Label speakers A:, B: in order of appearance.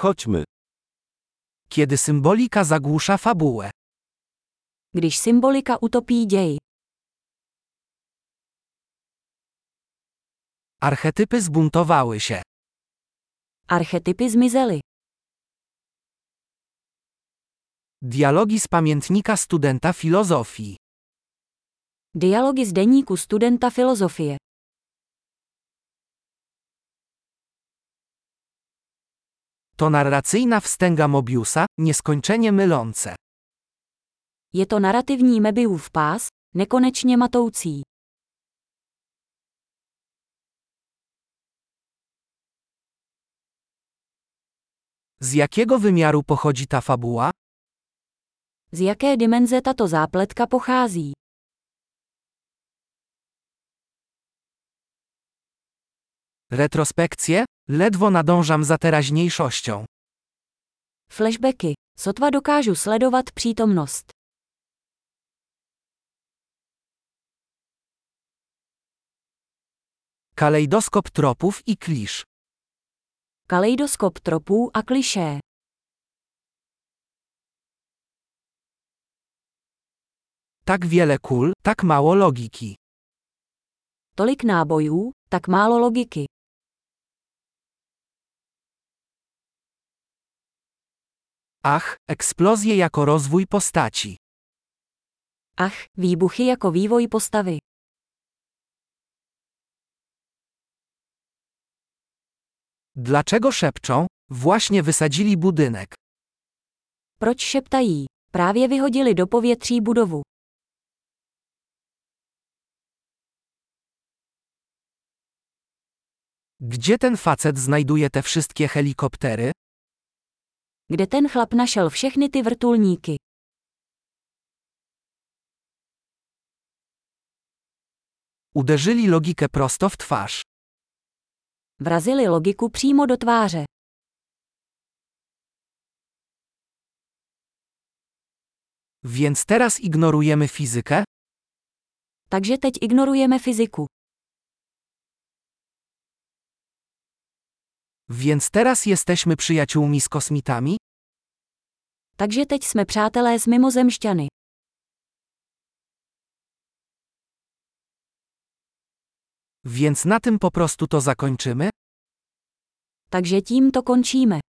A: Chodźmy. Kiedy symbolika zagłusza fabułę.
B: Když symbolika utopí děj,
A: Archetypy zbuntowały się.
B: archetypy zmizely,
A: Dialogi z pamiętnika studenta filozofii.
B: dialogy z deníku studenta filozofie,
A: To narracyjna wstęga Mobiusa, nieskończenie mylące.
B: je to narativní Mebiův pás, nekonečně matoucí.
A: Z jakiego wymiaru pochodzi ta fabuła?
B: Z jaké dimenze tato zápletka pochází?
A: Retrospekcje? Ledwo nadążam za teraźniejszością.
B: Flashbacky. Sotva dokážu sledovat přítomnost.
A: Kalejdoskop tropów i klisz.
B: Kaleidoskop tropů a klišé.
A: Tak wiele kul, tak mało logiki.
B: Tolik nábojů, tak málo logiky.
A: Ach, eksplozje jako rozwój postaci.
B: Ach, výbuchy jako vývoj postavy.
A: Dlaczego szepczą? Właśnie wysadzili budynek.
B: Proč šeptají? Právě vyhodili do povětří budovu.
A: Gdzie ten facet znajduje te wszystkie helikoptery?
B: Kde ten chlap našel všechny ty vrtulníky?
A: Uderzyli logikę prosto w twarz.
B: Vrazili logiku přímo do tváře.
A: Więc teraz ignorujemy fizykę?
B: Takže teď ignorujeme fyziku.
A: Więc teraz jesteśmy przyjaciółmi z kosmitami?
B: Takže teď jsme přátelé s mimozemšťany.
A: Więc na tym po prostu to zakończymy?
B: Takže tím to končíme.